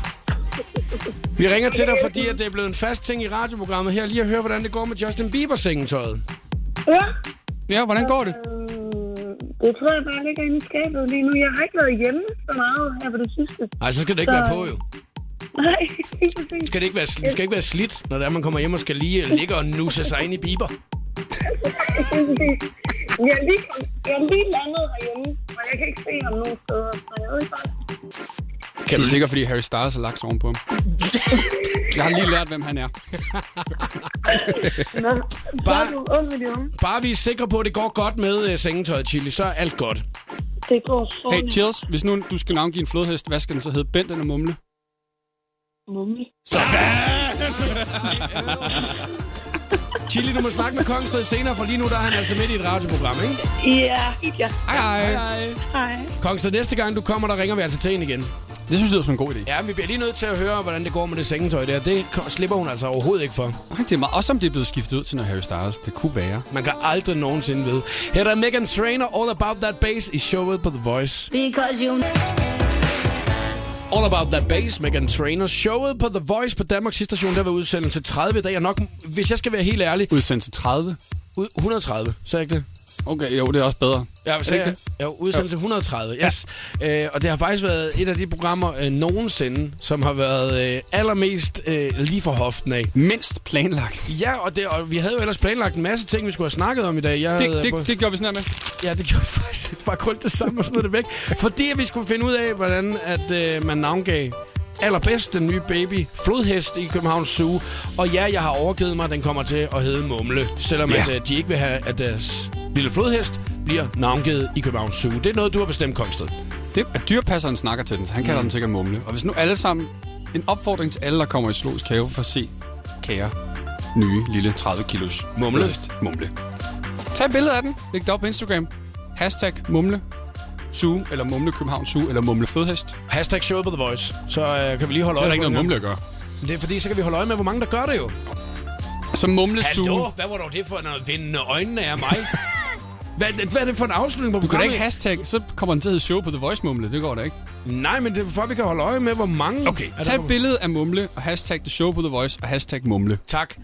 Vi ringer til dig, fordi at det er blevet en fast ting i radioprogrammet her, lige at høre, hvordan det går med Justin Bieber-sengetøjet. Ja, Ja, hvordan går det? øh, det tror jeg bare ligger inde i skabet lige nu. Jeg har ikke været hjemme så meget her på det sidste. Ej, så skal det ikke Så- være på, jo. Nej, ikke præcis. Skal det, ikke være, sli- det skal ikke være slidt, når det er, man kommer hjem og skal lige øh, ligge og nusse sig ind i Bieber. Ikke præcis. Jeg er lige, jeg er lige landet herhjemme, og jeg kan ikke se ham nogen steder. Så jeg ved ikke bare. Kan det er sikkert, fordi Harry Styles har lagt sig ovenpå ham. Jeg har lige lært, hvem han er. Nå, så er Bare- du ung med de unge. Bare vi er sikre på, at det går godt med uh, sengetøjet, Chili, så er alt godt. Det går så Hey, Chills, hvis nu du skal navngive en flodhest, hvad skal den så hedde? Bent eller Mumle? mumle. Chili, du må snakke med Kongsted senere, for lige nu der er han altså midt i et radioprogram, ikke? Ja, ja. Hej, hej. Hej. Kongsted, næste gang du kommer, der ringer vi altså til en igen. Det synes jeg er en god idé. Ja, vi bliver lige nødt til at høre, hvordan det går med det sengetøj der. Det ko- slipper hun altså overhovedet ikke for. Det er meget, også om det er blevet skiftet ud til noget Harry Styles. Det kunne være. Man kan aldrig nogensinde vide. Her er Megan Trainor, All About That Bass, i showet på The Voice. Because you All About That Bass, Megan Trainor. Showet på The Voice på Danmarks station, der var udsendelse 30 i dag. Og nok, hvis jeg skal være helt ærlig... Udsendelse 30? Ud, 130, sagde jeg ikke det? Okay, jo, det er også bedre. Ja, Er hvis det ikke jeg, ja, udsendelse 130, yes. Ja. Øh, og det har faktisk været et af de programmer øh, nogensinde, som har været øh, allermest øh, lige for hoften af. Mindst planlagt. Ja, og, det, og vi havde jo ellers planlagt en masse ting, vi skulle have snakket om i dag. Jeg havde, Det, det, det gjorde vi sådan her med. Ja, det gjorde faktisk bare kun det samme og smed det væk. Fordi at vi skulle finde ud af, hvordan at, øh, man navngav allerbedst den nye baby flodhest i Københavns Zoo. Og ja, jeg har overgivet mig, at den kommer til at hedde Mumle. Selvom Ja. ja. at, øh, de ikke vil have, at deres lille flodhest bliver navngivet i Københavns Zoo. Det er noget, du har bestemt, Kongsted. Det, at dyrpasseren snakker til den, så han kalder den sikkert mumle. Og hvis nu alle sammen... En opfordring til alle, der kommer i Slås Kave for at se kære nye lille 30 kilos Mumle. hest. Mumle. Tag et billede af den. Læg det op på Instagram. Hashtag mumle zoo, eller mumle København Zoo, eller mumle flodhest. Hashtag showet på The Voice. Så øh, kan vi lige holde Så øje er der ikke med den noget mumle her. at gøre. Men Det er fordi, så kan vi holde øje med, hvor mange der gør det jo. Så mumle Hallo, zoo. hvad var dog det for noget vindende øjnene af mig? hvad, hvad er det for en afslutning på Du kan da programmet? ikke hashtag, så kommer den til at hedde show på The Voice Mumle. Det går da ikke. Nej, men det er for, at vi kan holde øje med, hvor mange... Okay, er tag der... et billede af mumle og hashtag The Show på The Voice og hashtag mumle. Tak.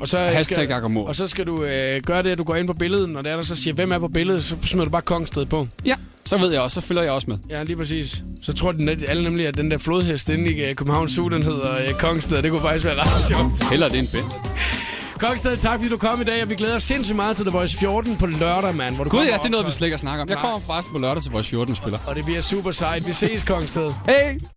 Og så, øh, Hashtag skal, Agamor. og så skal du øh, gøre det, at du går ind på billedet, når det er der, så siger, hvem er på billedet, så smider du bare kongsted på. Ja, så ved jeg også, så følger jeg også med. Ja, lige præcis. Så tror den, net- alle nemlig, at den der flodhest inde i øh, Københavns Zoo, den hedder øh, Kongsted. Det kunne faktisk være ret sjovt. Heller det end Bent. Kongsted, tak fordi du kom i dag, og vi glæder os sindssygt meget til The Voice 14 på lørdag, mand. Hvor du Gud kommer ja, det er noget, vi optræde. slet ikke snakker om. Jeg Nej. kommer faktisk på lørdag til vores 14 spiller. Og det bliver super sejt. Vi ses, Kongsted. Hey!